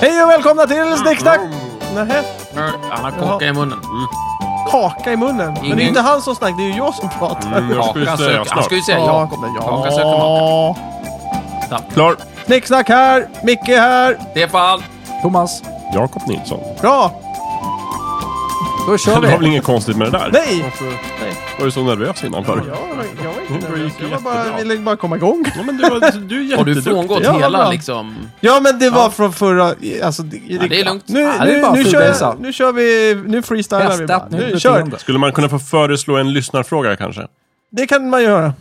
Hej och välkomna till Snicksnack! Nähä, Han har kaka i munnen. Mm. kaka i munnen. Men det är ju Ingen- inte han som snackar, det är ju jag som pratar. Mm, jag skulle Kaka säga söker. Han snart. skulle ju säga Ja. Jakob. men Kaka söker man. Ja. Klar. Snicksnack här, Micke här. Stefan! Thomas, Jakob Nilsson. Bra! då kör Det var väl vi. inget konstigt med det där? Nej! Var du så nervös innan Jag, förr? var- jag var inte Det nervös. gick Jag var bara, jättebra. ville bara komma igång. Ja, men du, var- du är Har du jätteduktig. frångått Ja, vad hela bra. liksom... Ja, men det var från förra... Alltså, det, det är lugnt. Nu, Ja, det är nu, bara nu, att kör, freebasea. nu kör vi... Nu freestylar vi bara. Testat nytt Nu, kör. beteende. Skulle man kunna få föreslå en lyssnarfråga kanske? Det kan man göra.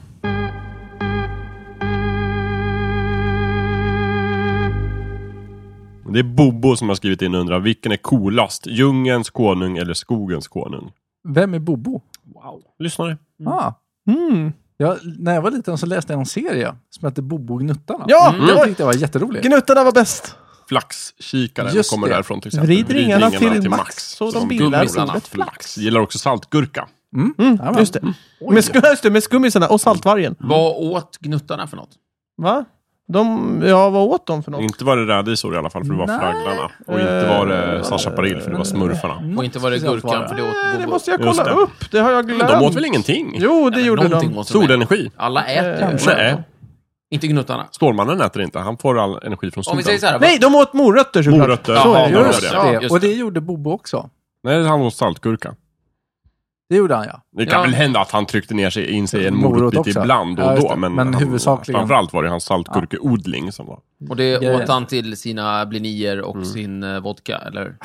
Det är Bobo som har skrivit in och undrar, vilken är coolast? Djungelns konung eller skogens konung? Vem är Bobo? Mm. Lyssnare. Ah. Mm. Jag, när jag var liten så läste jag en serie som hette Bobo och Gnuttarna. Ja, Den det var, tyckte jag var jätterolig. gnuttarna var bäst. Flaxkikaren Just kommer det. därifrån till exempel. Vrid ringarna till, till max så de bildar gummisarna. ordet flax. Gillar också saltgurka. Mm. Mm, Jajamän. just det. Med, skum, just det, med skummisarna och saltvargen. Vad åt gnuttarna för något? Va? De, ja, vad åt de för något? Inte var det rädisor i alla fall, för det var Nej. fragglarna. Och inte var det Sasha Paril, för det var smurfarna. Något Och inte var det speciellt gurkan, för det. det åt Nej, det Bobo. måste jag Just kolla det. upp. Det har jag glömt. De åt väl ingenting? Jo, det gjorde Någonting de. måste de äta. Solenergi. Alla äter ju. Nej. Inte gnuttarna. Stålmannen äter inte, han får all energi från Om vi solen. säger så här. vad- Nej, de åt morötter såklart. Morötter. Så är Jaha, det. Ja, Just det det. var det. Ja, just Och det det. gjorde Bobo också. Nej, han åt saltgurka. Det gjorde han ja. Det kan Ja. väl hända att han tryckte ner sig in sig i en Morot morotbit också. ibland då Ja, och just då. det. Men, Men han, huvudsakligen. framförallt var det hans saltgurkeodling som var... Och det Ja, ja. åt han till sina blinier Mm. och sin eh, vodka, eller?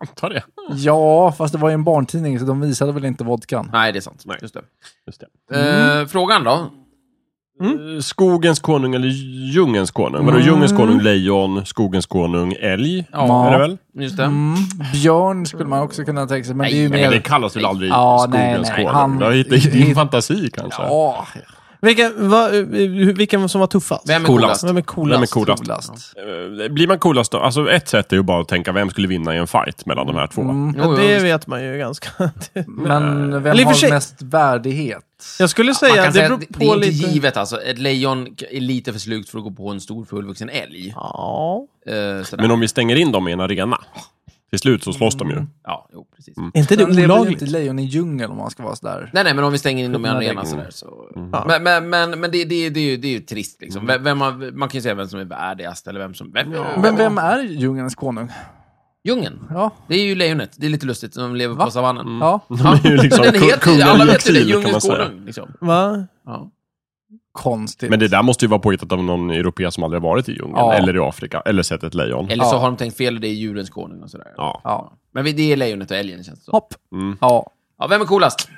Antar det. Mm. Ja, fast det var ju en barntidning så de visade väl inte vodkan. Nej, det är sant. Nej. Just det. Just det. Eh, frågan då? Eh, Skogens konung eller djungelns konung? Mm. Vadå djungelns konung? Lejon, skogens konung, älg? Ja. Är det väl? Just det. Mm. Björn skulle man också kunna tänka sig, men det är ju Nej, Nej, men det mer... kallas väl aldrig Ja, skogens nej, nej. konung? Han- Det har hittat i din fantasi alltså. kanske? Ja, Vilken, va, eh, vilken som var tuffast? Vem är Coolast. coolast? Vem är coolast? Vem är coolast? coolast. Eh, Blir man coolast då? Alltså ett sätt är ju bara att tänka vem skulle vinna i en fight mellan de här två. Mm. Jo, Ja, jo, det visst. vet man ju ganska. Men vem Eller i och för sig- har mest värdighet? Jag skulle Man säga, kan det säga beror att på det är inte lite... givet alltså. Ett lejon k- är lite för slugt för att gå på en stor fullvuxen älg. Ja. Eh, sådär. Men om vi stänger in dem i en arena, till slut så slåss de ju. Ja, jo, precis. Mm. Är inte det Sen lever ju olagligt? inte lejon i djungeln om man ska vara sådär. Nej, nej, men om vi stänger in dem i en Nej, arena det- sådär så... Mm. Men, men, men, men det, det, det, är ju, det är ju trist liksom. Vem, vem har, man kan ju säga vem som är värdigast eller vem som... Vem, Men vem är djungelns konung? Djungeln. Ja. Mm. Det är ju lejonet. Det är lite lustigt. De lever på savannen. ja. Ja. Det är ju liksom Den Mm. kung- heter ju... kungen Alla i vet ju det. exil, kan man Djungelns säga. konung. Liksom. Va? Ja. Konstigt. Men det där måste ju vara påhittat av någon europé som aldrig har varit i djungeln, Ja. eller i Afrika, eller sett ett lejon. Eller så Ja. har de tänkt fel. Det är djurens konung och sådär. Ja. Ja. Men vi- det är lejonet och älgen känns det som. Hopp. Mm. Ja. Ja, vem är coolast?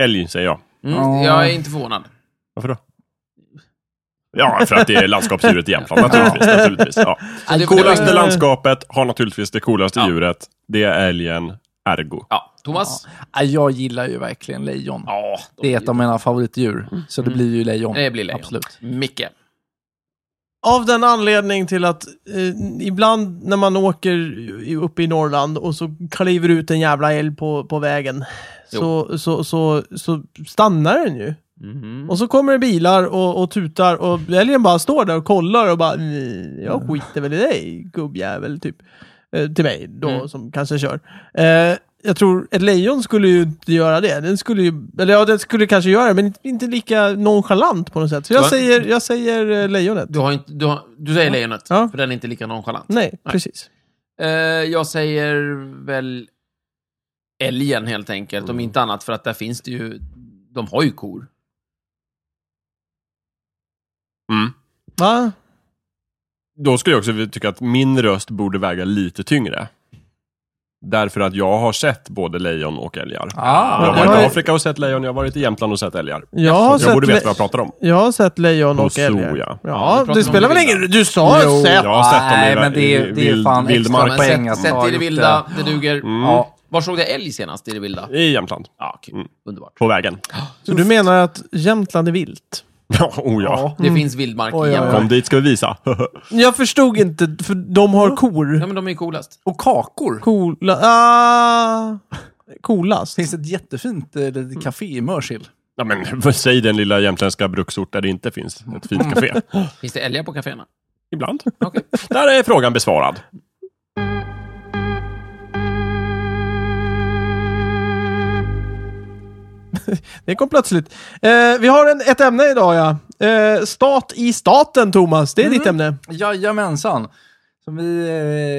Älg, säger jag. Mm, Ja. Jag är inte förvånad. Varför då? Ja, för att det är landskapsdjuret i Jämtland, naturligtvis. naturligtvis ja. Så det- Coolaste Eh. landskapet har naturligtvis det coolaste Ja. djuret. Det är älgen, ergo. Ja, Thomas? Ja, Jag gillar ju verkligen lejon. Ja, de- Det är ett av mina favoritdjur. Mm. Så det blir ju lejon. Det blir lejon. Absolut. Micke. Av den anledning till att eh, ibland när man åker i- uppe i Norrland och så kliver ut en jävla älg på, på vägen så, så, så, så stannar den ju. Mhm. Och så kommer det bilar och, och tutar och älgen bara står där och kollar och bara "Nej, jag skiter väl i dig gubbjävel typ. Eh, till mig då Mm. som kanske kör. Eh, jag tror ett lejon skulle ju inte göra det. Den skulle ju, eller ja den skulle kanske göra det men inte, inte lika nonchalant på något sätt. Så jag Va? säger, jag säger eh, lejonet. Du, har inte, du, har, du säger lejonet, Ja. för den är inte lika nonchalant. Nej, precis. Eh, jag säger väl älgen helt enkelt, om inte annat för att där finns det ju... De har ju kor. Mm. Va? Då skulle jag också tycka att min röst borde väga lite tyngre. Därför att jag har sett både lejon och älgar. Ah, Jag har det var varit ju- i Afrika och sett lejon, jag har varit i Jämtland och sett älgar. Jag har, Jag sett borde veta vad le- jag pratar om. jag har sett lejon Och och älgar. so, Ja, Ja, ja. vi det, pratar om spelar väl vilda. ingen Du sa Jo, sett! Jag har sett dem i Nej, ra- men det, i är- det är vild- fan vildmark. extra Men poäng sätt, att sätt ta i det lite- vilda, det duger. Ja. Var såg jag älg senast i det vilda? I Jämtland. Ja, kul. Mm. Underbart. På vägen. Så du menar att Jämtland är vilt? Ja, oh ja. Det finns vildmark Mm. Oj, i oj, Jämtland. Kom dit ska vi visa. Jag förstod inte, för de har kor. Ja, men de är ju coolast. Och kakor. Coola... Ah, coolast. Det finns ett jättefint eh, Mm. litet café i Mörsil. ja, men, säg den lilla jämtländska bruksort där det inte finns ett fint café. Finns det älgar på kaféerna? Ibland. Okej. Där är frågan besvarad. Det kom plötsligt. Eh, vi har en, ett ämne idag ja. Eh, stat i staten Thomas, det är ditt ämne. Jajamensan. Som vi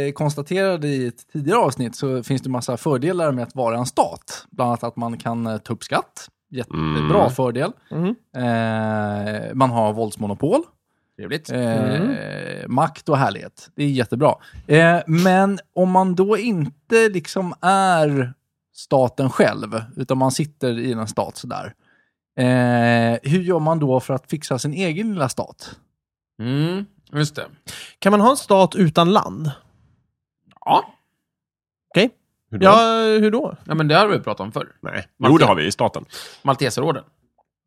eh, konstaterade i ett tidigare avsnitt så finns det massa fördelar med att vara en stat. Bland annat att man kan eh, ta upp skatt. Jättebra Mm. fördel. Mm. Eh, man har våldsmonopol. Trevligt. Eh, Makt och härlighet. Det är jättebra. Eh, men om man då inte liksom är staten själv, utan man sitter i en stat sådär. Eh, hur gör man då för att fixa sin egen lilla stat? Mm, just det. Kan man ha en stat utan land? Ja. Okej. Hur då? Ja, hur då? ja, men det har vi pratat om förr. Nej. Jo, det har vi i staten. Malteserorden.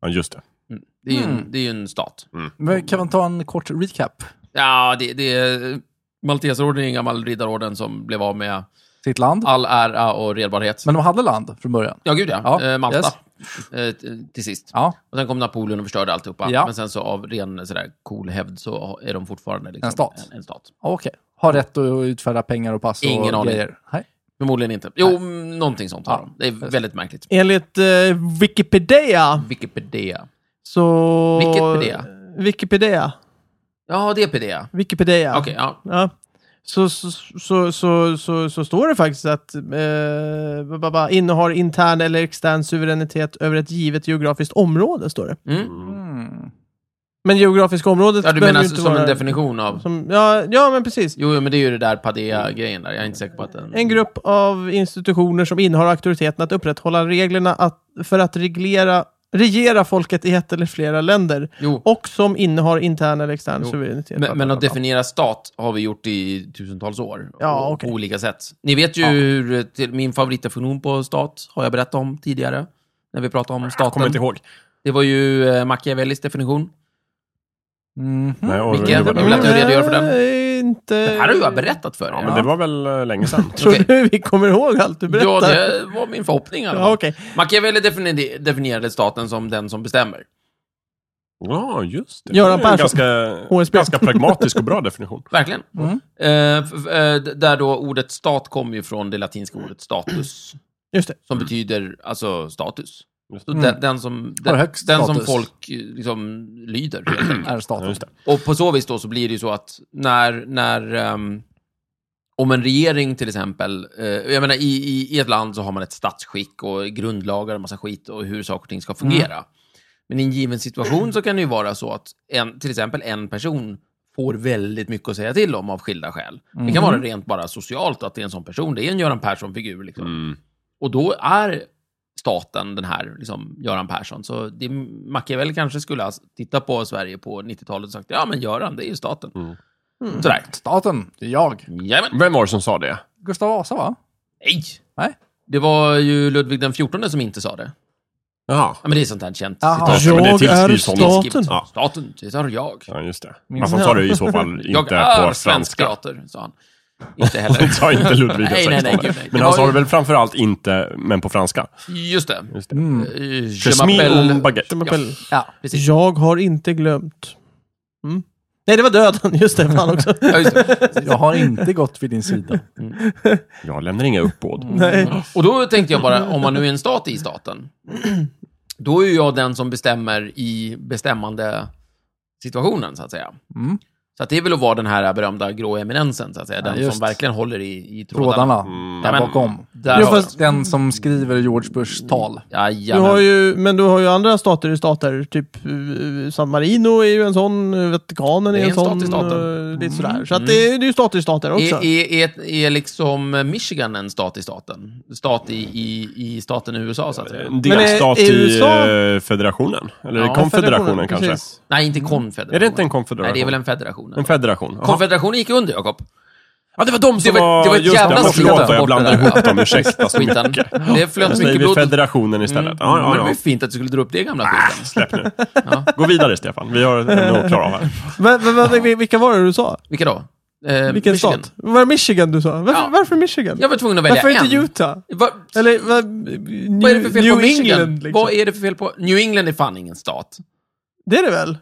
Ja, just det. Mm. Det, är ju en, Mm. det är ju en stat. Men kan man ta en kort recap? Ja, det, det är... Malteserorden är en gammal riddarorden som blev av med Sitt land? all ära och redbarhet. Men de hade land från början? Ja, gud ja. Ja, Eh, Malta. yes. Eh, t- till sist. Ja, Och sen kom Napoleon och förstörde alltihopa. Ja. Men sen så av ren sådär, cool hävd så är de fortfarande liksom En stat. En, en stat. okej. Har rätt att utfärda pengar och pass Ingen och aning. grejer? Nej. Förmodligen inte. Jo, mm, någonting sånt har Ja, de. Det är väldigt märkligt. Enligt eh, Wikipedia Wikipedia. så... Wikipedia? Wikipedia. Ja, det är Pedia. Wikipedia. Okej, ja. Ja. Så, så, så, så, så, så står det faktiskt att eh, ba- ba- ba, innehar intern eller extern suveränitet över ett givet geografiskt område, står det. Mm. Mm. Men geografiska området Ja, du behöver menar ju inte som vara... en definition av... som, ja, ja, men precis. Jo, jo, men det är ju det där Padea-grejen där. Jag är inte säker på att den... En grupp av institutioner som innehar auktoriteten att upprätthålla reglerna att, för att reglera, regera folket i ett eller flera länder Jo, och som innehar intern eller extern Jo, suveränitet. men, men att definiera stat har vi gjort i tusentals år. Ja, och- okej. På olika sätt. Ni vet ju Ja. hur... eh, Till, min favoritdefinition på stat har jag berättat om tidigare. När vi pratade om Jag kommer staten. inte ihåg. Det var ju eh, Machiavellis definition. Mhm. Nej, och- Micke, det var- du vill att jag redogör för den? Nej, inte... Det här har ju jag berättat för Ja, er. men det var väl eh, länge sedan. Tror Okej. du vi kommer ihåg allt du berättar? Ja, det var min förhoppning i alla Ja, fall. okej. Machiavelli defini- definierade staten som den som bestämmer. Ja, just det. Göran Det är en Persson. Ganska, HSB. ganska pragmatisk och bra definition. Verkligen. Mm. Eh, f- f- eh, d- där då ordet stat kommer ju från det latinska ordet status, Just det. som betyder alltså status. Just Så Mm. den, den som, Har den, högst den som status. folk eh, liksom lyder. helt enkelt. Är staten. Just det. Och på så vis då så blir det ju så att när, när ehm, om en regering till exempel, eh, jag menar i, i, i ett land så har man ett statsskick och grundlagar och massa skit och hur saker och ting ska Mm. fungera. Men i en given situation så kan det ju vara så att en, till exempel en person får väldigt mycket att säga till om av skilda skäl. Det kan Mm. vara rent bara socialt att det är en sån person, det är en Göran Persson-figur liksom. Mm. Och då är staten den här liksom, Göran Persson. Så det, Machiavelli kanske skulle ha tittat på Sverige på 90-talet och sagt ja, men Göran, det är ju staten. Mm. Mm. Sådär. Staten, det är jag. Jajamän. Vem var det som sa det? Gustav Vasa va? Nej. Nej. Det var ju Ludvig den XIV som inte sa det. Jaha. Ja, men det är sånt här känt Jaha. citat. men det Jag är tillskrivs honom. staten. Staten. Staten, det sa jag. Ja, just det. Min- Fast han sa det i så fall inte jag på är svensk franska. teater, sa han. Inte Han heller. sa inte Ludvig Nej, nej, nej, gud, nej. Det Men han var sa ju- det väl framförallt inte, men på franska. Just det. Just det. Mm. Eh, Je Jasmine m'appelle- och baguette. Schmappel. Ja. Precis. Jag har inte glömt. Mm. Nej, det var döden. Just det, fan också. Ja, just det. Jag har inte gått vid din sida. Jag lämnar inga uppbåd. Mm. Nej. Och då tänkte jag bara, om man nu är en stat i staten, då är ju jag den som bestämmer i bestämmande situationen, så att säga. Mm. Så att det är väl att vara den här berömda grå eminensen, så att säga. Ja, Den just. som verkligen håller i, i trådarna. Trådarna Mm. där Jajamän. bakom. Där Jo, har vi fast- dem. Den som skriver George Bushs tal. Du Jajamän. har ju, men du har ju andra stater i stater. Typ eh, San Marino är ju en sån, eh, Vatikanen är, Det är en en stat sån. i staten. eh, Lite sådär. Så att Mm. det, är, det är ju stater i stater också. Är, är, är, är liksom Michigan en stat i staten? Stat i, i, i staten i USA, så att säga? En delstat Men är- är i USA- eh, federationen. Eller Ja, konfederationen kanske. precis. Nej, inte konfederationen. Är det inte en Nej, konfederation? det är väl en federation. En federation. Jaha. Konfederationen gick under, Jakob. ja, det var de som Det var- var... det var ett just jävla skit men att Förlåt ta vad jag bort det blandade där. ihop dem. Ursäkta så mycket. Skiten. Det flöt Så säger mycket vi blod. federationen istället. Ja, Men det var ja, ju fint att du skulle dra upp det gamla ja. skiten. Släpp nu. Ja. Gå vidare Stefan. Vi har en att klara av här. Men, men, men, vil- vilka var det du sa? Vilka då? Eh, Vilken Michigan. stat? Var det Michigan du sa? Varför, Ja. varför Michigan? Jag var tvungen att välja varför en. inte Utah? Va, Eller va, New, vad är det för fel New på Michigan? England? Liksom. Vad är det för fel på... New England är fan ingen stat. Det är det väl?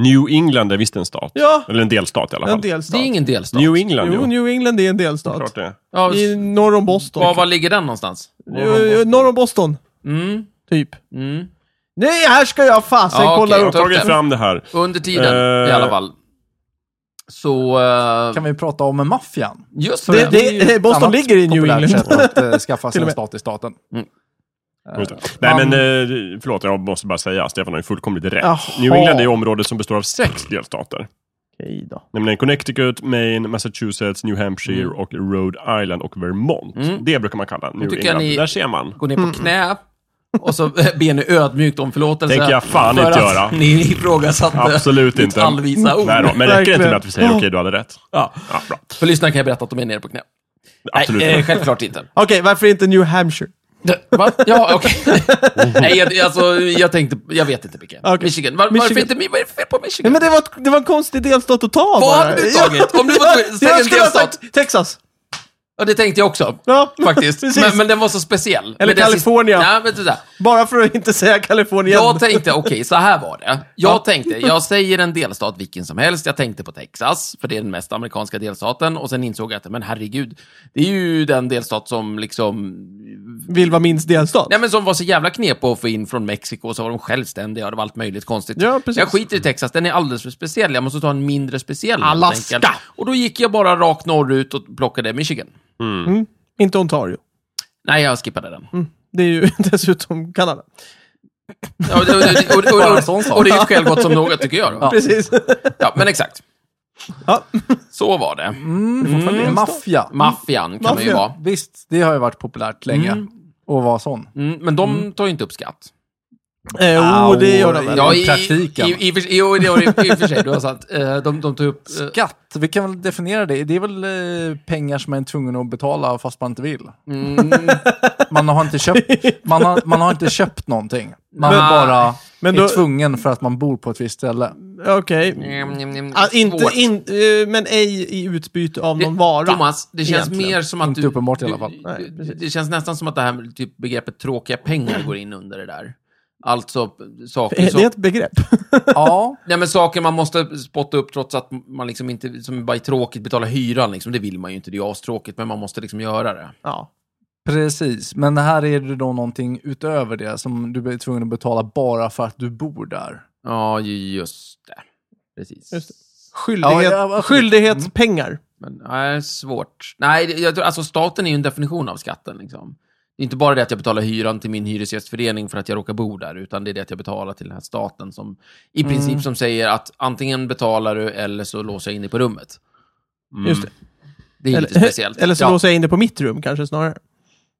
New England är visst en stat. Ja, Eller en delstat i alla fall. en delstat. Det är ingen delstat. New England, Jo, jo. New England är en Klart delstat. det. Ja, I norr om Boston. var, var ligger den någonstans? Eh, Norr om Boston, Mm, typ. mm. Nej, här ska jag fasen Ja, kolla okej. Jag har upp. Ta upp tagit det. fram det här. Under tiden, Eh. i alla fall. Så... eh, Kan vi prata om maffian? just Det, det. det, eh, Boston Annat ligger i New populärt England. sätt att eh, skaffa sig Till och en med. stat i staten. Mm. Eh, Just det. Nej man- men, eh, förlåt, jag måste bara säga, Stefan har ju fullkomligt rätt. Jaha. New England är ju området som består av sex delstater. Okej då. Nämligen Connecticut, Maine, Massachusetts, New Hampshire och Rhode Island och Vermont. Mm. Det brukar man kalla New tycker jag England. ni- Där ser man. Gå ner på knä och så ber ni ödmjukt om förlåtelse. Tänker jag fan för inte att göra. Ni ifrågasatte Absolut inte. detaljvisa ord. Nej då, men räcker det inte Verkligen. med att vi säger okej, du hade rätt? Ja. Ja, bra. För lyssnarna kan jag berätta att de är nere på knä. Absolut. Nej, eh, självklart inte. Okej, varför inte New Hampshire? Det- Va? Ja, okej. Nej, jag, alltså, jag tänkte... Jag vet inte, Micke. Okej. Michigan. Var, Varför Michigan. inte... Vad är det fel på Nej, Michigan? men det var, det var en konstig delstat att ta Vad bara. hade du tagit? Om du var tvungen- jag, säg en jag skulle ha delstat. tagit Texas. Ja, det tänkte jag också. Ja, Faktiskt. precis. men, men den var så speciell. Eller Men den California. sist- Nej, men sådär. Bara för att inte säga Kalifornien. Jag tänkte, okej, så här var det. Jag tänkte, jag säger en delstat vilken som helst. Jag tänkte på Texas, för det är den mest amerikanska delstaten. Och sen insåg jag att, men herregud, det är ju den delstat som liksom... Vill vara minst delstat. Nej, men som var så jävla knepig att få in från Mexiko, så var de självständiga och det var allt möjligt konstigt. Ja, precis. Jag skiter i Texas, den är alldeles för speciell. Jag måste ta en mindre speciell. helt Alaska. enkelt. Och då gick jag bara rakt norrut och plockade Michigan. Inte Ontario. Nej, jag skippade den. Det är ju dessutom Kanada. Ja, och, det- och, det- och, det- och, Bara det- en sån sak. och det är ju ett skäl gott som något, tycker jag. Då. Precis. Ja, men exakt. Ja. Så var det. Mm. Maffia. Maffian kan man ju Maffian. vara. Visst, det har ju varit populärt länge. Mm. Att vara sån. Mm, men de tar ju inte upp skatt. Eh, oh, det gör de väl. Ja. i i, praktiken. I, i, i, i, jo, det gör det i och för sig, du har sagt. Eh, De, de tar upp... eh, Skatt, vi kan väl definiera det. Det är väl eh, pengar som man är tvungen att betala fast man inte vill. Mm, Man har inte köpt, man har, man har inte köpt någonting. Man Men- är bara Men då- är tvungen för att man bor på ett visst ställe. Okej. mm, mm, mm, Ah, inte, svårt. in, eh, men ej i utbyte av någon vara. Thomas, det känns egentligen. mer som att Inte du... uppenbart i alla du- fall. Nej, du- precis. det känns nästan som att det här med typ begreppet tråkiga pengar går in under det där. Alltså saker Är som... det ett begrepp? Ja, Nej, men saker man måste spotta upp trots att man liksom inte, som bara är tråkigt, betala hyran liksom. Det vill man ju inte, det är ju astråkigt, men man måste liksom göra det. Ja. precis. Men här är det då någonting utöver det som du är tvungen att betala bara för att du bor där. Ja, ju- just det. Precis. Just det. Skyldighet, Ja, ja, absolut. skyldighetspengar. Men nej, svårt. Nej, det- jag tror, alltså staten är ju en definition av skatten. Liksom. Det är inte bara det att jag betalar hyran till min hyresgästförening för att jag råkar bo där, utan det är det att jag betalar till den här staten som i Mm. princip som säger att antingen betalar du eller så låser jag in dig på rummet. Mm. Just det. Det är ju lite speciellt. Eller, eller så Ja. låser jag in det på mitt rum kanske snarare.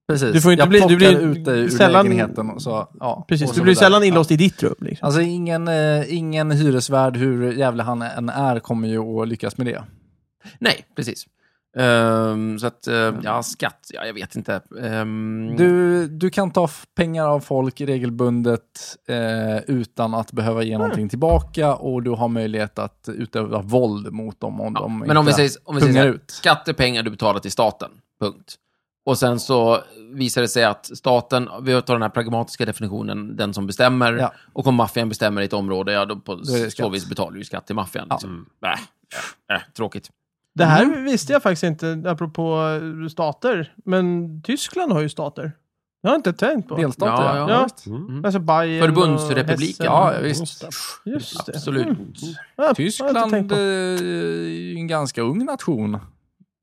Precis. Du får inte jag bli- du plockar blir ut dig ur sällan- lägenheten och så... Ja, Precis, och du så blir vidare. sällan Ja. inlåst i ditt rum. Liksom. Alltså ingen, eh, ingen hyresvärd, hur jävla han än är, kommer ju att lyckas med det. Mm. Nej, precis. Ehm, så att, eh, Mm. ja, skatt, ja, jag vet inte. Ehm, Du, du kan ta f- pengar av folk regelbundet eh, utan att behöva Mm. ge någonting tillbaka och du har möjlighet att utöva våld mot dem om ja, de men om vi inte säger, om vi säger så pungar här, ut. skatt är pengar du betalar till staten, punkt. Och sen så visar det sig att staten, vi tar den här pragmatiska definitionen, den som bestämmer, Ja. och om maffian bestämmer i ett område, ja då på Då är så det skatt. vis betalar du ju skatt till maffian. Ja. Liksom. Äh, äh, tråkigt. Det här Mm. visste jag faktiskt inte, apropå eh, stater. Men Tyskland har ju stater. Jag har inte tänkt på. Delstater, Ja, ja. ja. Ja, Ja. visst. Mm. Alltså Bayern Förbundsrepubliken. Och Hessen. ja, visst. Just det. Absolut. Mm. Ja, Tyskland har jag inte tänkt eh, på. är ju en ganska ung nation. Det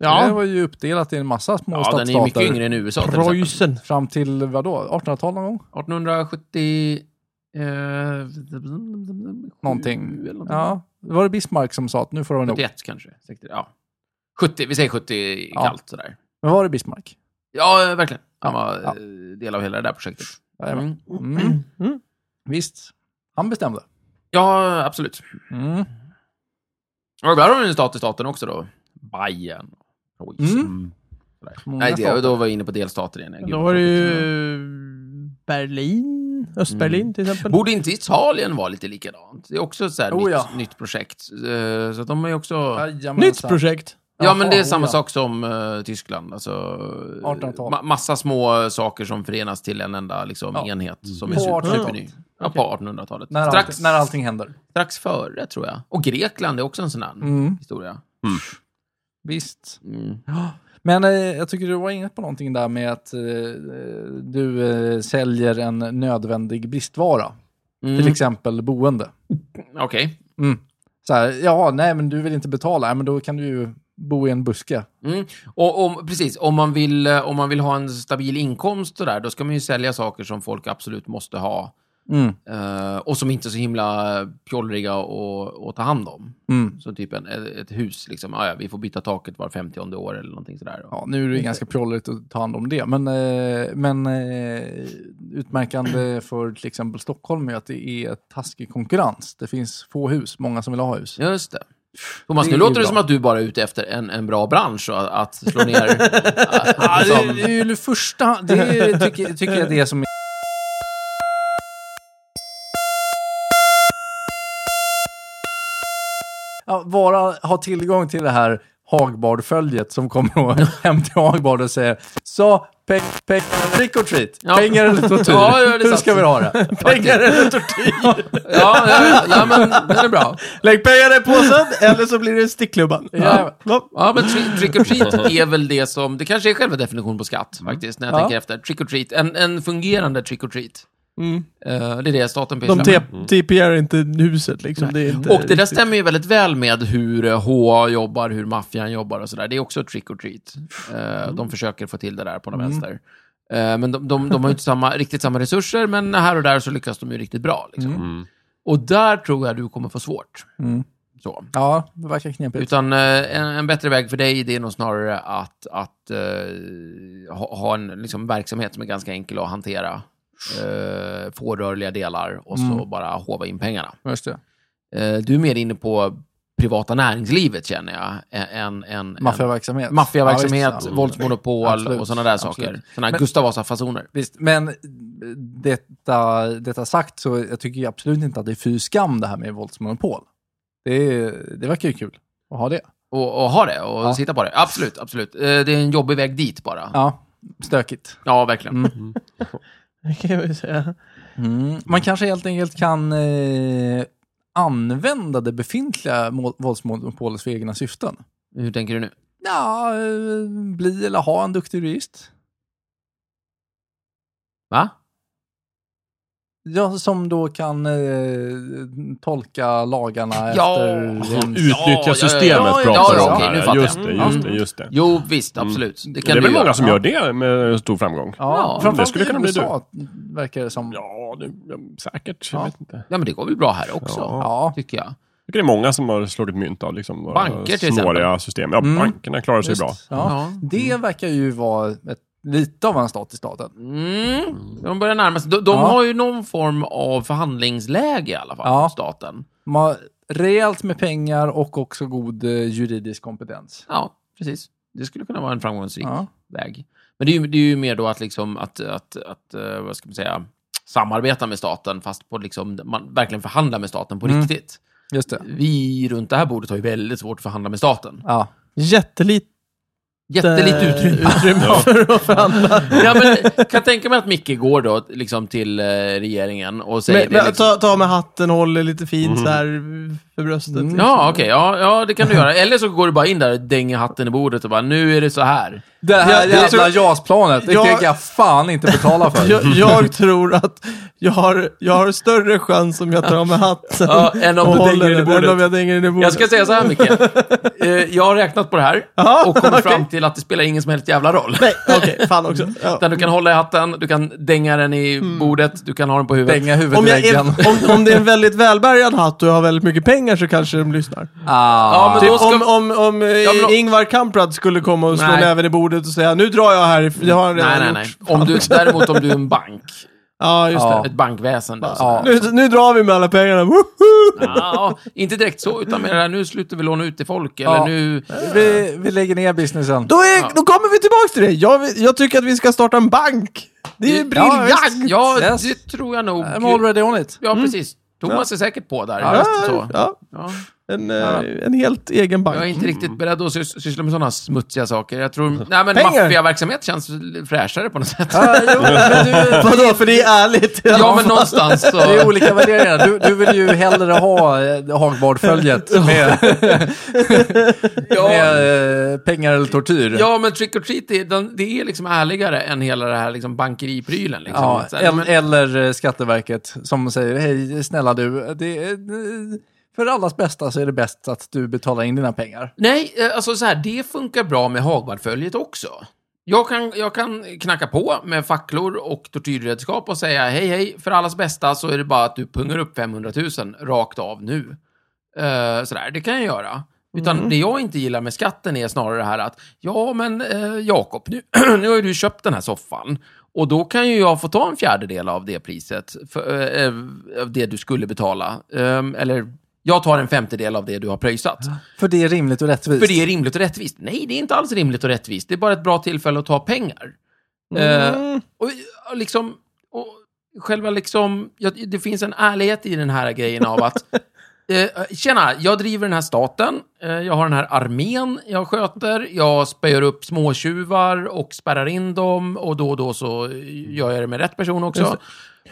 Ja, var ju uppdelat i en massa små Ja, den är ju mycket stadsstater. yngre än USA till exempel. Preussen. Fram till vadå? 1800-tal någon gång? 1870... Eh, Någonting. eller någonting. Ja. Var det Bismarck som sa att nu får det vara nog? 71 kanske. 60, ja. 70, vi säger 70 Ja. kallt sådär. Men var det Bismarck? Ja, verkligen. Han Ja, var ja. eh, del av hela det där projektet. Jajamän. Mm. Mm. Mm. Visst. Han bestämde. Ja, absolut. Mm. Och där har vi en stat i staten också då. Bayern. Oj, Mm. Mm. Många Nej, det, stater. då var jag inne på delstater igen. Gud, Då var det ju tråkigt. Berlin, Östberlin Mm. till exempel. Borde inte Italien vara lite likadant? Det är också ett så här Oh, nytt, ja. nytt projekt. Eh, Så att de är ju också... Jajamensan. Nytt projekt. Ja, men det är samma ja. sak som eh, Tyskland. Alltså, eh, 1800-tal. ma- massa små eh, saker som förenas till en enda liksom, Ja. Mm. enhet som På är super- 1800-talet. superny. Ja, på 1800-talet. När, Strax, allting, när allting händer. strax före, tror jag. Och Grekland är också en sån här Mm. historia. Visst. Mm. Men eh, jag tycker du var inne på någonting där med att eh, du eh, säljer en nödvändig bristvara. Mm. Till exempel boende. Okej. Så här, ja, nej men du vill inte betala, ja, men då kan du ju bo i en buske. Mm. Och, och precis, om man, vill, eh, om man vill ha en stabil inkomst och där, då ska man ju sälja saker som folk absolut måste ha. eh, och som inte är så himla eh, pjollriga att att ta hand om. Mm. Så typ en, ett ett hus, liksom. ah, ja, vi får byta taket var 50 år eller någonting sådär. Ja, nu är det ganska pjolligt att ta hand om det, men, eh, men eh, utmärkande för till exempel Stockholm är att det är taskig konkurrens. Det finns få hus, många som vill ha hus. Just det. Thomas, Det nu är låter bra. det som att du bara är ute efter en, en bra bransch och att, att slå ner... Ja, att, det, liksom, det är ju det första, det är, tycker, tycker jag det är som är... Ja, bara ha tillgång till det här Hagbard-följet som kommer och hem till Hagbard och säger så, pe- pe- trick or treat, Ja. pengar eller tortyr, Ja, ja, det är hur sant. ska vi ha det? Pengar eller tortyr? ja, ja, ja, men den är bra. Lägg pengar i påsen, eller så blir det stickklubban. Ja. Ja. Ja, men tri- trick or treat är väl det som... Det kanske är själva definitionen på skatt, faktiskt, när jag Ja. Mm. tänker efter. Trick or treat. En, en fungerande trick or treat. Eh, det är det staten pysslar De med. te- TPR inte huset liksom. Det är inte Mm. Och det där stämmer ju väldigt väl med hur eh, HA jobbar, hur maffian jobbar och sådär. Det är också trick or treat. Eh, Mm. De försöker få till det där på den vänster. Eh, Men de, de, de har ju inte samma, riktigt samma resurser, men här och där så lyckas de ju riktigt bra. Liksom. Mm. Och där tror jag du kommer få svårt. Mm. Så. Ja, det verkar knepigt. Utan eh, en, en bättre väg för dig, det är nog snarare att, att eh, ha, ha en liksom, verksamhet som är ganska enkel att hantera. Eh, få rörliga delar och så Mm. bara hova in pengarna. Just det. Eh, Du är mer inne på privata näringslivet, känner jag. ä- än- än- än- Maffiaverksamhet. Ja, Maffiaverksamhet, visst, ja. våldsmonopol Absolut, och sådana där absolut. saker. Sådana Men- Gustav Vasa-fasoner. Visst, men detta, detta sagt så jag tycker ju absolut inte att det är fy skam det här med våldsmonopol. Det, är- det verkar ju kul att ha det. Och, och ha det och Ja. sitta på det. Absolut, absolut. Eh, Det är en jobbig väg dit bara. Ja, Ja, stökigt. verkligen. Mm. kan jag väl säga. Mm. Man kanske helt enkelt kan eh, använda det befintliga må- våldsmonopolet för egna syften. Hur tänker du nu? Ja, eh, bli eller ha en duktig jurist. Va? Ja, som då kan eh, tolka lagarna Ja. efter... Ja, en- ja, Utnyttja ja. systemet Ja, ja, pratar ja, de om okej, nu här. fattar Just jag. det, Mm. just det, just det. Jo, visst, Mm. absolut. Det Det kan är du väl många göra. som gör det med stor framgång. Ja, det framförallt skulle i kunna bli du. USA, verkar det som. Ja, det, säkert. Ja. Jag vet inte. Ja, men det går väl bra här också, Ja. Ja, tycker jag. Jag tycker det är många som har slagit mynt av liksom, våra Banker till snåriga system. Ja, Mm. bankerna klarar sig just. bra. Ja. Ja. Det verkar ju vara ett, lite av en stat i staten. Mm, de börjar närma sig. De, de Ja. har ju någon form av förhandlingsläge i alla fall, Ja. staten. De har rejält med pengar och också god eh, juridisk kompetens. Ja, precis. Det skulle kunna vara en framgångsrik Ja. väg. Men det är, ju, det är ju mer då att, liksom, att, att, att eh, vad ska man säga, samarbeta med staten, fast på liksom, man verkligen förhandla med staten på Mm. riktigt. Just det. Vi runt det här bordet har ju väldigt svårt att förhandla med staten. Ja. Jättelite Jättelite utrymme. utrymme för att förhandla. ja, men, kan tänka mig att Micke går då liksom, till eh, regeringen och säger... Men, det, men, liksom. ta, ta med hatten, håller lite fint så här för bröstet. liksom. Mm. Ja, okej. Ja, ja, det kan du göra. Eller så går du bara in där och dänger hatten i bordet och bara, nu är det så här. Det här Jag- jag jävla tror- JAS-planet, det Jag- tänker jag fan inte betala för. Jag, jag tror att jag har, jag har större chans om jag tar av mig hatten Ja, än om och du dänger håller i den bordet. än om jag dänger den i bordet. Jag ska säga så här, Micke. Eh, jag har räknat på det här Jaha, och kommit okej. fram till att det spelar ingen som helst jävla roll. Nej, okej, fan också. Ja. Utan du kan hålla i hatten, du kan dänga den i Mm. bordet, du kan ha den på huvudet. Pengar huvudet Om, i jag är, väggen. om, om det är en väldigt välbärgad hatt och jag har väldigt mycket pengar så kanske de lyssnar. Ja, Ah. men Typ då ska- om, om, om eh, men om- Ingvar Kamprad skulle komma och slå Nej. näven i bordet och säga nu drar jag här, det har han redan Nej, nej, gjort. nej. Om du, däremot om du är en bank, Ja, just Ja. det. ett bankväsen. Då, Ja. Nu, nu drar vi med alla pengarna, woho! Ja, inte direkt så, utan mer det här, nu slutar vi låna ut till folk, eller Ja. nu... Vi, vi lägger ner businessen. Då, är, då kommer vi tillbaka till det. Jag, vill- jag tycker att vi ska starta en bank. Det är ju briljant! Ja, visst. Ja, Yes. det tror jag nog. I'm already on it. Ja, precis. Thomas är säkert på där. Ja, Så. ja. Ja. En, eh, en helt egen bank. Jag är inte riktigt beredd att sys- syssla med sådana smutsiga saker. Jag tror... Nej, men Pengar. maffiaverksamhet känns fräschare på något sätt. Ja, jo, men du, Vadå, för det är ärligt? Ja, men någonstans så... Det är olika värderingar. Du, du vill ju hellre ha eh, Hagbard-följet med, Ja, med eh, pengar eller tortyr. ja, men trick or treat, det, den, det är liksom ärligare än hela det här liksom bankeriprylen. Liksom. Ja, Så här, el- men- eller eh, Skatteverket som säger hej snälla du, det, är- för allas bästa så är det bäst att du betalar in dina pengar. Nej, eh, alltså så här, det funkar bra med Hagbardföljet också. Jag kan, jag kan knacka på med facklor och tortyrredskap och säga hej, hej, för allas bästa så är det bara att du pungar upp 500 000 rakt av nu. Eh, sådär, det kan jag göra. Utan det jag inte gillar med skatten är snarare det här att, ja men eh, Jakob, nu, nu har ju du köpt den här soffan. Och då kan ju jag få ta en fjärdedel av det priset, för, eh, eh, av det du skulle betala. Ehm, eller, jag tar en femtedel av det du har pröjsat. För det är rimligt och rättvist. För det är rimligt och rättvist. Nej, det är inte alls rimligt och rättvist. Det är bara ett bra tillfälle att ta pengar. Eh, Mm. och och liksom, och själva liksom, ja, det finns en ärlighet i den här grejen av att Eh, tjena, jag driver den här staten, eh, jag har den här armén jag sköter, jag spöar upp småtjuvar och spärrar in dem och då och då så gör jag det med rätt person också.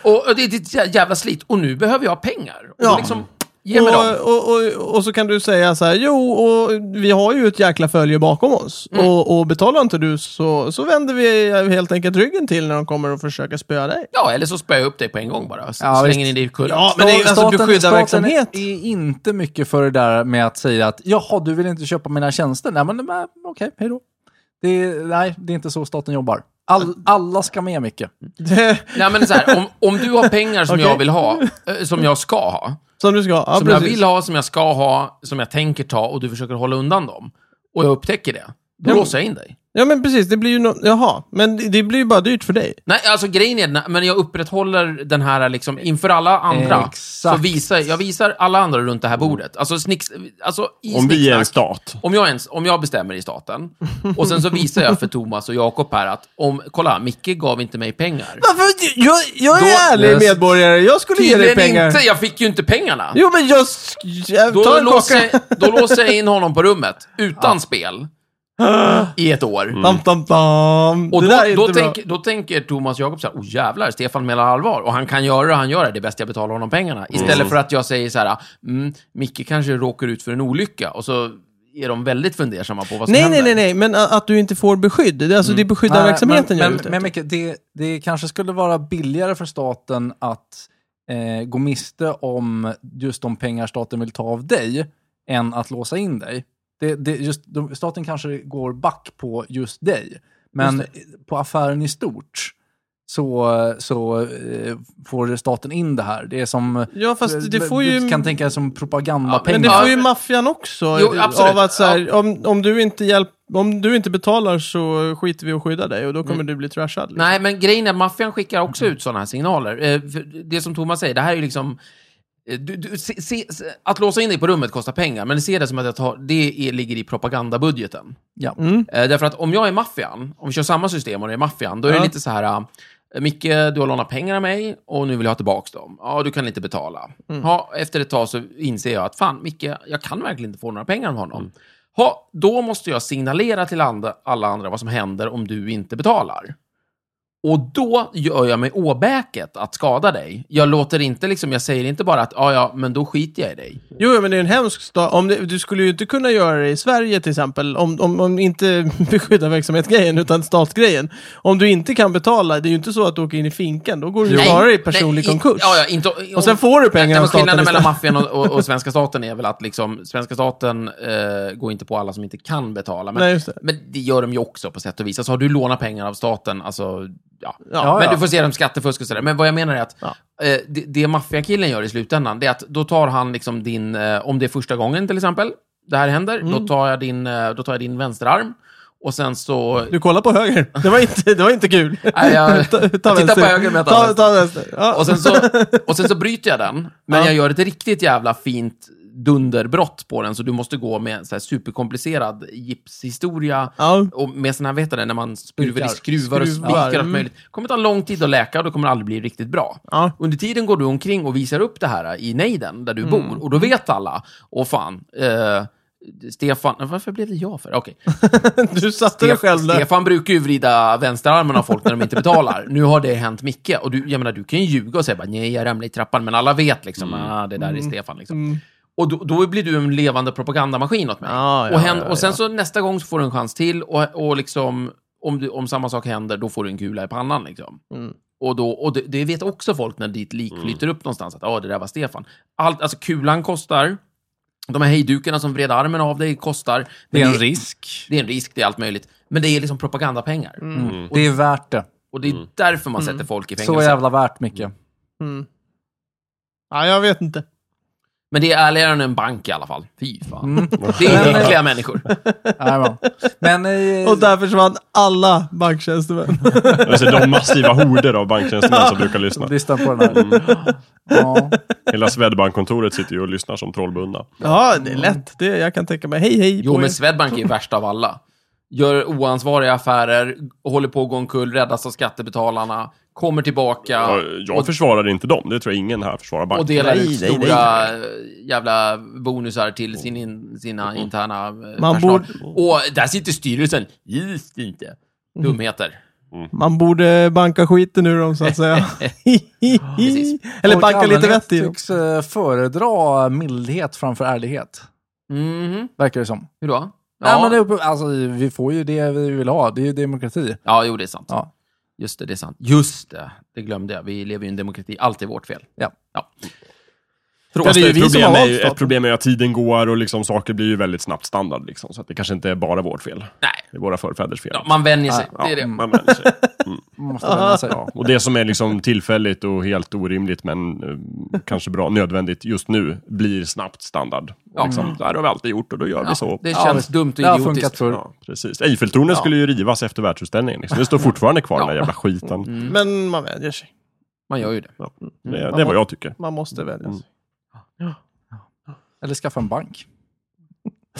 Och, och det är ett jä- jävla slit och nu behöver jag pengar. Och Ja. då liksom, ge mig dem. och, och, och, och så kan du säga så här, jo, och vi har ju ett jäkla följe bakom oss. Mm. Och, och betalar inte du så, så vänder vi helt enkelt ryggen till när de kommer och försöker spöa dig. Ja, eller så spöar jag upp dig på en gång bara. S- Ja, slänger visst. in dig i kullen. Ja, men det är- alltså, beskydda verksamhet. Staten är inte mycket för det där med att säga att jaha, du vill inte köpa mina tjänster. Nej, men men, okej, hej då. Det är, nej, det är inte så staten jobbar. All, alla ska med mycket. Det, Nej, men så här, om, om du har pengar som Okej. jag vill ha, eh, som jag ska ha, som du ska, ja, som jag precis. vill ha, som jag ska ha, som jag tänker ta och du försöker hålla undan dem, och jag upptäcker det, då Ja. låser jag in dig. Ja men precis, det blir ju no- jaha, men det- det blir ju bara dyrt för dig. Nej, alltså grejen är, den- men jag upprätthåller den här liksom, inför alla andra. Exakt. Så visar, jag visar alla andra runt det här bordet. Alltså, snicks, alltså i Om vi är en snicksnack- stat. Om jag, ens, om jag bestämmer i staten, och sen så visar jag för Thomas och Jakob här att, om, kolla, Micke gav inte mig pengar. Varför? Jag, jag är Då- ärlig Yes. medborgare, jag skulle ge dig Tydligen pengar. inte, jag fick ju inte pengarna. Jo men jag... sk- jag Då ta en låser, kaka. jag, då låser jag in honom på rummet, utan spel, i ett år. Tam, tam, tam. Mm. det Och då, där är då, inte bra. tänk, då tänker Thomas Jakob så här, oh jävlar, Stefan menar allvar. Och han kan göra det han gör, det är bäst jag betalar honom pengarna. Mm. Istället för att jag säger så här, mm, Micke kanske råkar ut för en olycka, och så är de väldigt fundersamma på vad som Nej, händer. nej, nej, nej, men a- att du inte får beskydd. Det är alltså det är Nej, beskyddarverksamheten jag är men, ute men, men efter. Micke, det, det kanske skulle vara billigare för staten att eh, gå miste om just de pengar staten vill ta av dig än att låsa in dig. Det, det, just, de, staten kanske går back på just dig, men på affären i stort så, så eh, får staten in det här. Det är som... Ja, fast det eh, får Du ju... kan tänka som Ja, propagandapengar. Men det pengar. får ju maffian också. Jo, eh, absolut. av att så här, om, om, du inte hjälp, om du inte betalar så skiter vi och skyddar dig och då kommer du bli trashad. liksom. Nej, men grejen är att maffian skickar också ut sådana här signaler. Eh, för Det som Thomas säger, det här är ju liksom... eh, Du, du, se, se, se- att låsa in dig på rummet kostar pengar, men se det som att jag tar, det är, ligger i propagandabudgeten. Ja. Mm. Eh, därför att om jag är maffian, om vi kör samma system och det är maffian, då är Ja. det lite så här... eh, Micke, du har lånat pengar av mig och nu vill jag ha tillbaka dem. Ja, du kan inte betala. Ja, efter ett tag så inser jag att fan, Micke, jag kan verkligen inte få några pengar av honom. Ja, då måste jag signalera till andra, alla andra vad som händer om du inte betalar. Och då gör jag mig åbäket att skada dig. Jag låter inte liksom, jag säger inte bara att ja, ja, men då skiter jag i dig. Jo, men det är en hemsk stat. Om det, du skulle ju inte kunna göra det i Sverige till exempel, om, om, om inte beskyddarverksamhetsgrejen, utan statsgrejen. Om du inte kan betala, det är ju inte så att du åker in i finkan, då går du ju snarare i personlig nej, i- konkurs. Ja, ja, inte, Och sen får du pengar Nej, av men staten Skillnaden istället. mellan maffian och, och, och svenska staten är väl att liksom, svenska staten eh, går inte på alla som inte kan betala. Men, Nej, just det. men det gör de ju också på sätt och vis. Alltså har du lånat pengar av staten, alltså, ja. Ja, men ja. du får se dem skattefusk och sådär. Men vad jag menar är att Ja. eh, det, det maffiakillen gör i slutändan, det är att då tar han liksom din, eh, om det är första gången till exempel, det här händer, Mm. då, tar jag din, eh, då tar jag din vänsterarm. Och sen så Du kollar på höger. Det var inte, det var inte kul. Nej, jag- ta, ta jag tittar på vänster. höger, men jag tar ta, vänster. ta vänster. Ja. Och sen, så, och sen så bryter jag den, men Ja. jag gör ett riktigt jävla fint dunderbrott på den, så du måste gå med så här superkomplicerad gipshistoria. Ja. Och med sådana här, vet du det, när man skruvar i Spikar. skruvar och Skruvar, spikar allt mm. möjligt. Det kommer ta lång tid att läka och det kommer aldrig bli riktigt bra. Ja. Mm. Under tiden går du omkring och visar upp det här i nejden, där du bor. Och då vet alla, åh fan, eh, Stefan, varför blev det jag för? Okej. Du satte dig Stef- själv där. Stefan brukar ju vrida vänsterarmen av folk när de inte betalar. Nu har det hänt Micke. Och du, jag menar, du kan ju ljuga och säga bara, nej, jag ramlade i trappan. Men alla vet liksom, Mm. ah, det där är Stefan. Liksom. Och då, då blir du en levande propagandamaskin åt mig. Ja, ja, och, hän- ja, och sen så nästa gång så får du en chans till. Och, och liksom, om, du, om samma sak händer, då får du en kula i pannan. Liksom. Mm. Och, då, och det, det vet också folk när ditt lik Mm. flyter upp någonstans, att ah, det där var Stefan. Allt, alltså kulan kostar, de här hejdukarna som vred armen av dig kostar. Det är Men en risk. det är en risk, det är allt möjligt. Men det är liksom propagandapengar. Mm. Det är värt det. Och det är Mm. därför man sätter folk i Så fängelse. jävla värt, Micke. Mm. Ja, jag vet inte. Men det är ärligare än en bank i alla fall. Fy fan. Mm. Det är äckliga människor. Nej, man. Men... eh, Och där försvann alla banktjänstemän. Alltså, de massiva horder av banktjänstemän som brukar lyssna. Lyssna på den här. Mm. Ja. Hela Swedbank-kontoret sitter ju och lyssnar som trollbundna. Ja, det är lätt. Det, jag kan tänka mig. Hej, hej Jo, på men er. Swedbank är ju värst av alla. Gör oansvariga affärer, håller på att gå omkull, räddas av skattebetalarna, kommer tillbaka Ja, jag försvarar inte dem, det tror jag ingen här försvarar och banken. delar Nej, ut nej, nej. stora eh, jävla bonusar till sin in, sina Mm. interna eh, Man personal. borde- Och där sitter styrelsen. Just inte. Mm. Dumheter. Man borde banka skiten ur dem, så att säga. Precis. Eller Folk banka lite allmänhet vett i typ. dem. tycks eh, föredra mildhet framför ärlighet. Mhm. Verkar det som. Hur då? Nej, men det är uppe, alltså, vi får ju det vi vill ha. Det är ju demokrati. Ja, jo, det är sant. Ja. Just det, det är sant. Just det, det glömde jag. Vi lever ju i en demokrati. Allt är vårt fel. Ja. ja. Fast det är ju Alltså, ett vi som problem har är valt ju- staten. Ett problem är ju att tiden går och liksom, saker blir ju väldigt snabbt standard. Liksom, så att det kanske inte är bara vårt fel. Nej, Det är våra förfäders fel. ja, man vänjer sig. Ja, det är det. man vänjer sig. Man måste vänja sig. Ja, och det som är liksom tillfälligt och helt orimligt, men eh, kanske bra, nödvändigt just nu, blir snabbt standard. Ja. Mm. Ja. Liksom, det här har vi alltid gjort och då gör vi så. Ja, det Ja, känns visst. dumt och Det har idiotiskt. funkat förr. Ja, precis. Eiffeltornet skulle ju rivas efter världsutställningen. Liksom. Det står fortfarande kvar, den där jävla Mm. skiten. Men man vänjer sig. Man gör ju det. Ja, det, Mm. det är vad jag tycker. Man måste Mm. vänja sig. Eller skaffa en bank.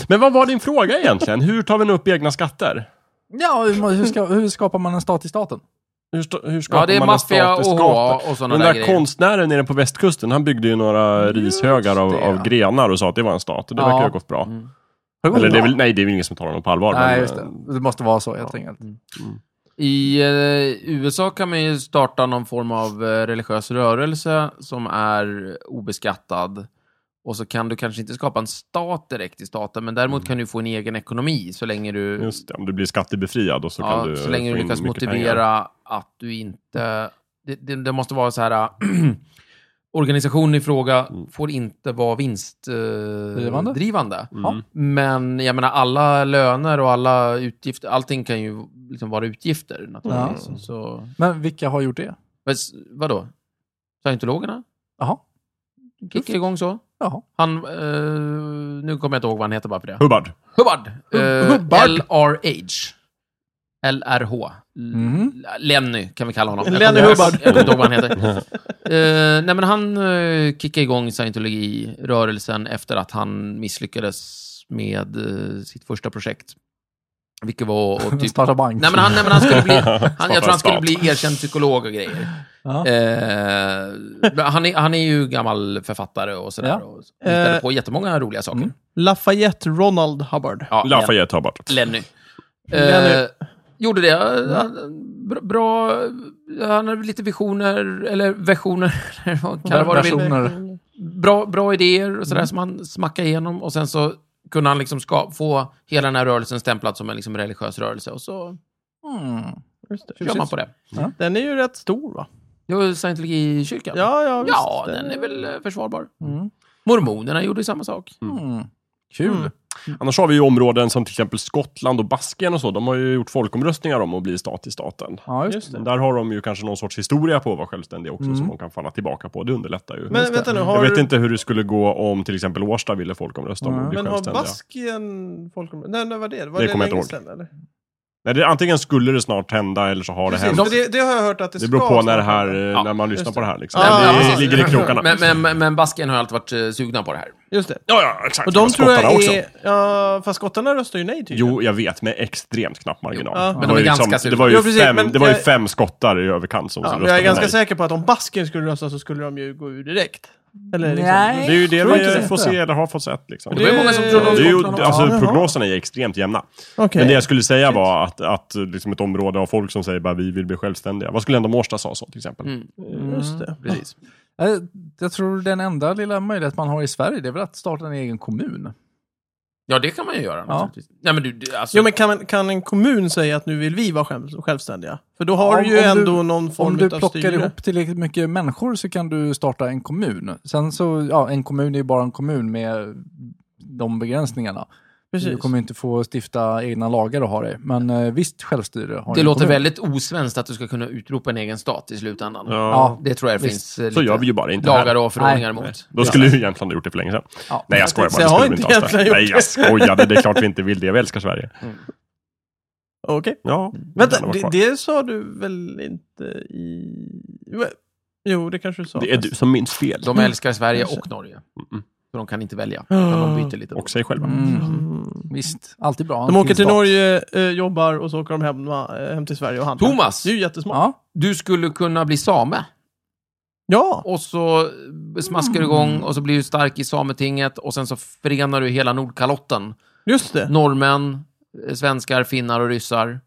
Men vad var din fråga egentligen? Hur tar vi nu upp egna skatter? Ja, hur, hur, ska, hur skapar man en stat i staten? Hur, sta- hur skapar Ja, det är man en maffia och statisk HA gata? och sådana Den där där grejer. Mm, konstnären nere på västkusten, han byggde ju några rishögar av, det, ja. av grenar och sa att det var en stat. Och det Ja. verkar ju ha gått bra. Mm. Hur Eller det är många? väl, nej, det är väl ingen som tar honom på allvar. Nej, men, just eh, det. Det måste vara så helt enkelt. I eh, USA kan man ju starta någon form av eh, religiös rörelse som är obeskattad. Och så kan du kanske inte skapa en stat direkt i staten, men däremot kan du få en egen ekonomi så länge du Mm. Just det, om du blir skattebefriad och så ja, kan du så länge få du in lyckas mycket motivera pengar. att du inte... Det, det, det måste vara så här... Organisationen i fråga Mm. får inte vara vinstdrivande. Drivande? Eh, drivande. Mm. Ja. Men jag menar, alla löner och alla utgifter, allting kan ju liksom vara utgifter naturligtvis. Ja. Så, Men vilka har gjort det? men, s- vadå? Scientologerna? Jaha. Kickade igång så. Jaha. Han, eh, nu kommer jag inte ihåg vad han heter bara för det. Hubbard. Hubbard. Eh, Hubbard. LRH. LRH. L- Mhm. Lenny kan vi kalla honom. Jag Lenny kommer ihåg- Hubbard. Jag kommer inte ihåg vad han heter. Eh, nej, men han uh, kickade igång scientologirörelsen efter att han misslyckades med eh, sitt första projekt. Vilket var att typ... Starta bank. Nej men, han, nej, men han skulle bli... Han, Starta jag tror han skulle stat. bli erkänd psykolog och grejer. Ja. Eh, men han, är, han är ju gammal författare och sådär. Ja. Och hittade Eh. på jättemånga roliga saker. Mm. Lafayette Ronald Hubbard. Ja, men- Lafayette Hubbard. Lenny. Lenny. Eh, gjorde det. Han- bra- Bra. Han hade lite visioner, eller versioner, eller vad kan det vara du vill. Personer. Mm. Bra, bra idéer och sådär som han smackade igenom. Och sen så kunde han liksom ska, få hela den här rörelsen stämplad som en liksom religiös rörelse. Och så Mm. Just det. kör man på det. Den är ju rätt stor, va? Jo, scientologikyrkan. Ja, ja, visst. ja den är väl eh, försvarbar. Mm. Mormonerna gjorde ju samma sak. Mm. Kul. Mm. Annars har vi ju områden som till exempel Skottland och Baskien och så. De har ju gjort folkomröstningar om att bli stat i staten. Ja, just Just Men det. Där har de ju kanske någon sorts historia på att vara självständiga också Mm. som de kan falla tillbaka på. Det underlättar ju. Men vänta nu, Jag har, vet inte hur det skulle gå om till exempel Årsta ville folkomrösta om Mm. att bli men har självständiga. Baskien folkomröstning? Nej, när var det? Var Det det kommer jag länge inte sedan, eller? Nej, det, antingen skulle det snart hända eller så har det Precis, hänt. men det, det har jag hört att det Det ska beror på när, det snart här, hända. eh, Ja, när man just lyssnar på det här. Liksom. Ja, det ja, ligger i krokarna. Men, men, men, men Basken har alltid varit eh, sugna på det här. Just det. ja, ja, exakt. Och de tror jag Skottarna är... också. Ja, fast skottarna röstar ju nej typ. tydligen. Jo, jag vet, med extremt knapp marginal. Jo, ja. Men Det var de är ju ganska liksom- sugna. Det var ju, Ja, precis, fem, men det var ju jag- fem skottar i överkant som, som Ja, jag röstade är ganska nej. säker på att om Basken skulle rösta så skulle de ju gå ur direkt. Eller liksom, Nej. Det är ju det Tror inte vi det. får se, eller har fått sett. Liksom. Det var Det- ju många som Ja, trodde det är om ju, Skottland också. alltså, Ja, jaha. prognoserna är extremt jämna. Okej. Men det jag skulle säga var att, att liksom ett område av folk som säger bara vi vill bli självständiga. Vad skulle hända om Årsta sa så till exempel? Mm, Just det. precis. Jag, Eh, jag tror den enda lilla möjlighet man har i Sverige, det är väl att starta en egen kommun. Ja, det kan man ju göra. Ja. naturligtvis. Nej, men du, du, alltså, Jo, men kan, man- kan en kommun säga att nu vill vi vara själv, självständiga? För då har Om- du ju om du- ändå någon form Om av du styre. plockar ihop tillräckligt mycket människor så kan du starta en kommun. Sen så, ja, en kommun är ju bara en kommun med de begränsningarna. Du Precis. kommer ju inte få stifta egna lagar och ha det. Men eh, visst, självstyre har det en låter kommun. väldigt osvenskt att du ska kunna utropa en egen stat i slutändan. Ja, Det tror jag det Visst. finns eh, Så lite gör vi ju bara inte här. lagar och förordningar Nej. emot. Då skulle ju Jämtland ha gjort det för länge sedan. ja. Nej jag skojar tänkte säga, bara, det har skulle vi inte inte ha. Jämtland Nej jag skojade, det är klart vi inte vill det. Vi älskar Sverige. Okej. Ja. Vänta, gärna vara det, kvar. det sa du väl inte i... Jo, det kanske du sa. Det är du som minns fel. De älskar Sverige och Norge. Mm. Så de kan inte välja. utan De byter lite. då. Och sig själva. Mm. Mm. Visst, alltid bra. De åker till Stat. Norge, eh, jobbar och så åker de hem, eh, hem till Sverige och handlar. Thomas! Det är ju jättesmart. Ja, Du skulle kunna bli same. Ja! Och så smaskar du igång och så blir du stark i Sametinget och sen så förenar du hela Nordkalotten. Just det. Norrmän, eh, svenskar, finnar och ryssar.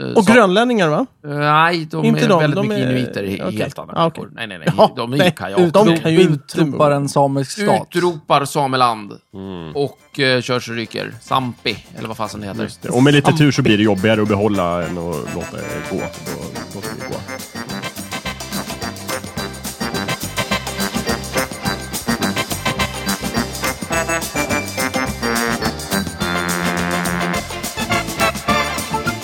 Eh, Och sa- grönlänningar va? Eh, Nej, de Inte är de, väldigt de mycket är- inuiter. i- i okej. Helt andra Ah, okej. människor. Nej, nej, nej. Ja, de är ju nej. kajaker. De kan ju inte utropar en samisk stat. Utropar sameland Mm. och eh, kör så ryker. Sampi, eller vad fasen det heter. Det- Och med lite tur så blir det jobbigare att behålla än att låta det gå. Då låter vi det gå.